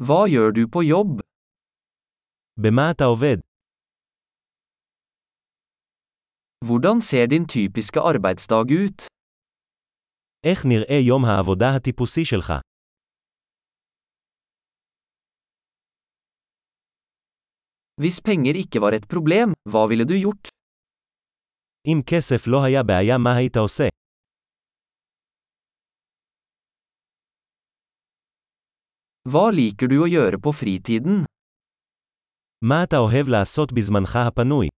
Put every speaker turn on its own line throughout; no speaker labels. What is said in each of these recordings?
Hva gjør du på jobb?
במה אתה עובד?
Hvordan ser din typiske arbeidsdag ut?
איך נראה יום העבודה הטיפוסי שלך?
Hvis penger ikke var et problem, hva ville du gjort?
אם כסף לא היה בעיה מה היית עושה?
Hva liker du å gjøre på fritiden?
מה אתה אוהב לעשות בזמנך הפנוי?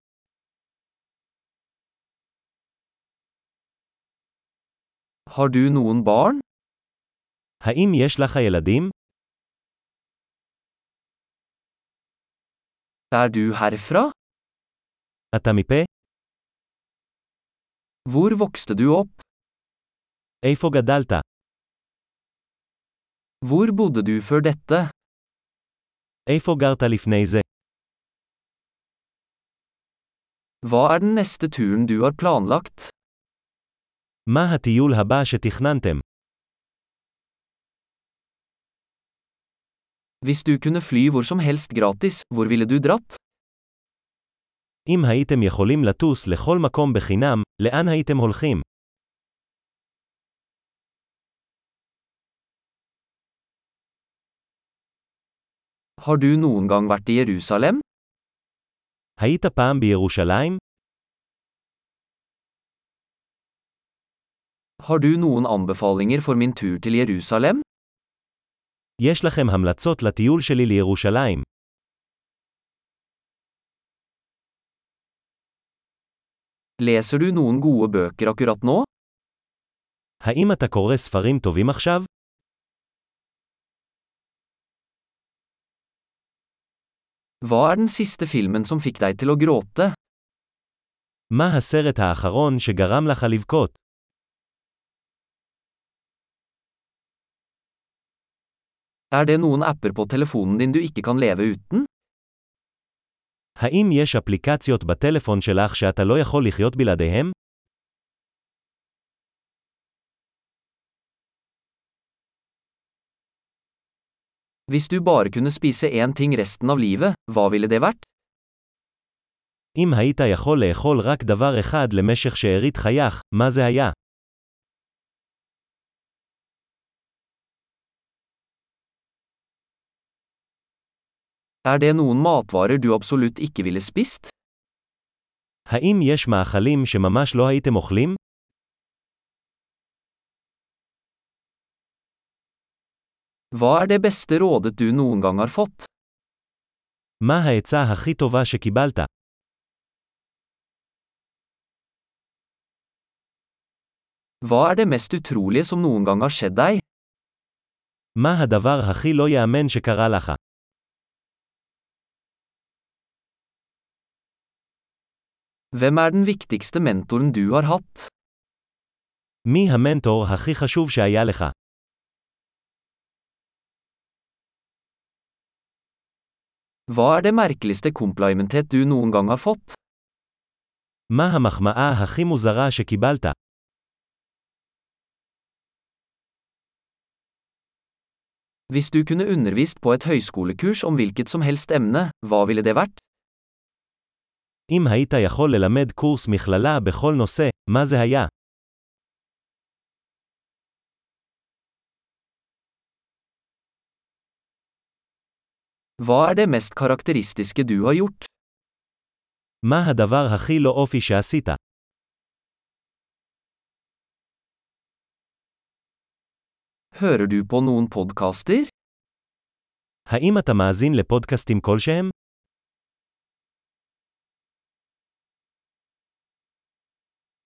Har du noen barn?
האם יש לך ילדים?
Er du herfra?
אתה מפה?
Hvor vokste du opp?
איפה גדלת?
Hvor bodde du før dette?
איפה גרת לפני זה?
Hva er den neste turen du har planlagt?
מה הטיול הבא שתכננתם?
Hvis du kunne fly hvor som helst gratis, hvor ville du dratt?
אם הייתם יכולים לטוס לכל מקום בחינם, לאן הייתם הולכים?
Har du noen gang vært i Jerusalem?
היית פעם בירושלים?
Har du noen anbefalinger for min tur til Jerusalem?
יש לכם המלצות לטיול שלי לירושלים.
Leser du noen gode bøker akkurat nå?
האם אתה קורא ספרים טובים עכשיו?
Hva er den siste filmen som fikk deg til å gråte?
מה הסרט האחרון שגרם לך לבכות?
Er det noen apper på telefonen din du ikke kan leve uten?
האם יש אפליקציות בטלפון שלך שאתה לא יכול לחיות בלעדיהם?
Hvis du bare kunne spise én ting resten av livet, hva ville det vært?
אם היית יכול לאכול רק דבר אחד למשך שארית חייך, מה זה היה?
Er det noen matvarer du absolutt ikke ville spist?
האם יש מאכלים שממש לא הייתם אוכלים?
Hva er det beste rådet du noen gang har fått?
מה העצה הכי טובה שקיבלת?
Hva er det mest utrolige som noen gang har skjedd deg?
מה הדבר הכי לא ייאמן שקרה לך?
Hvem er den viktigste mentoren du har hatt?
מי המנטור הכי חשוב שהיה לך?
Hva er det merkeligste komplimentet du noen gang har fått?
מה המחמאה הכי מוזרה שקיבלת?
Hvis du kunne undervist på et høyskolekurs om hvilket som helst emne, hva ville det vært?
אם היית יכול ללמד קורס מכללה בכל נושא, מה זה היה?
Hva er det mest karakteristiske du har gjort?
מה הדבר הכי לא אופי שעשית?
Hører du på noen podkaster?
האם אתה מאזין לפודקאסטים כלשהם?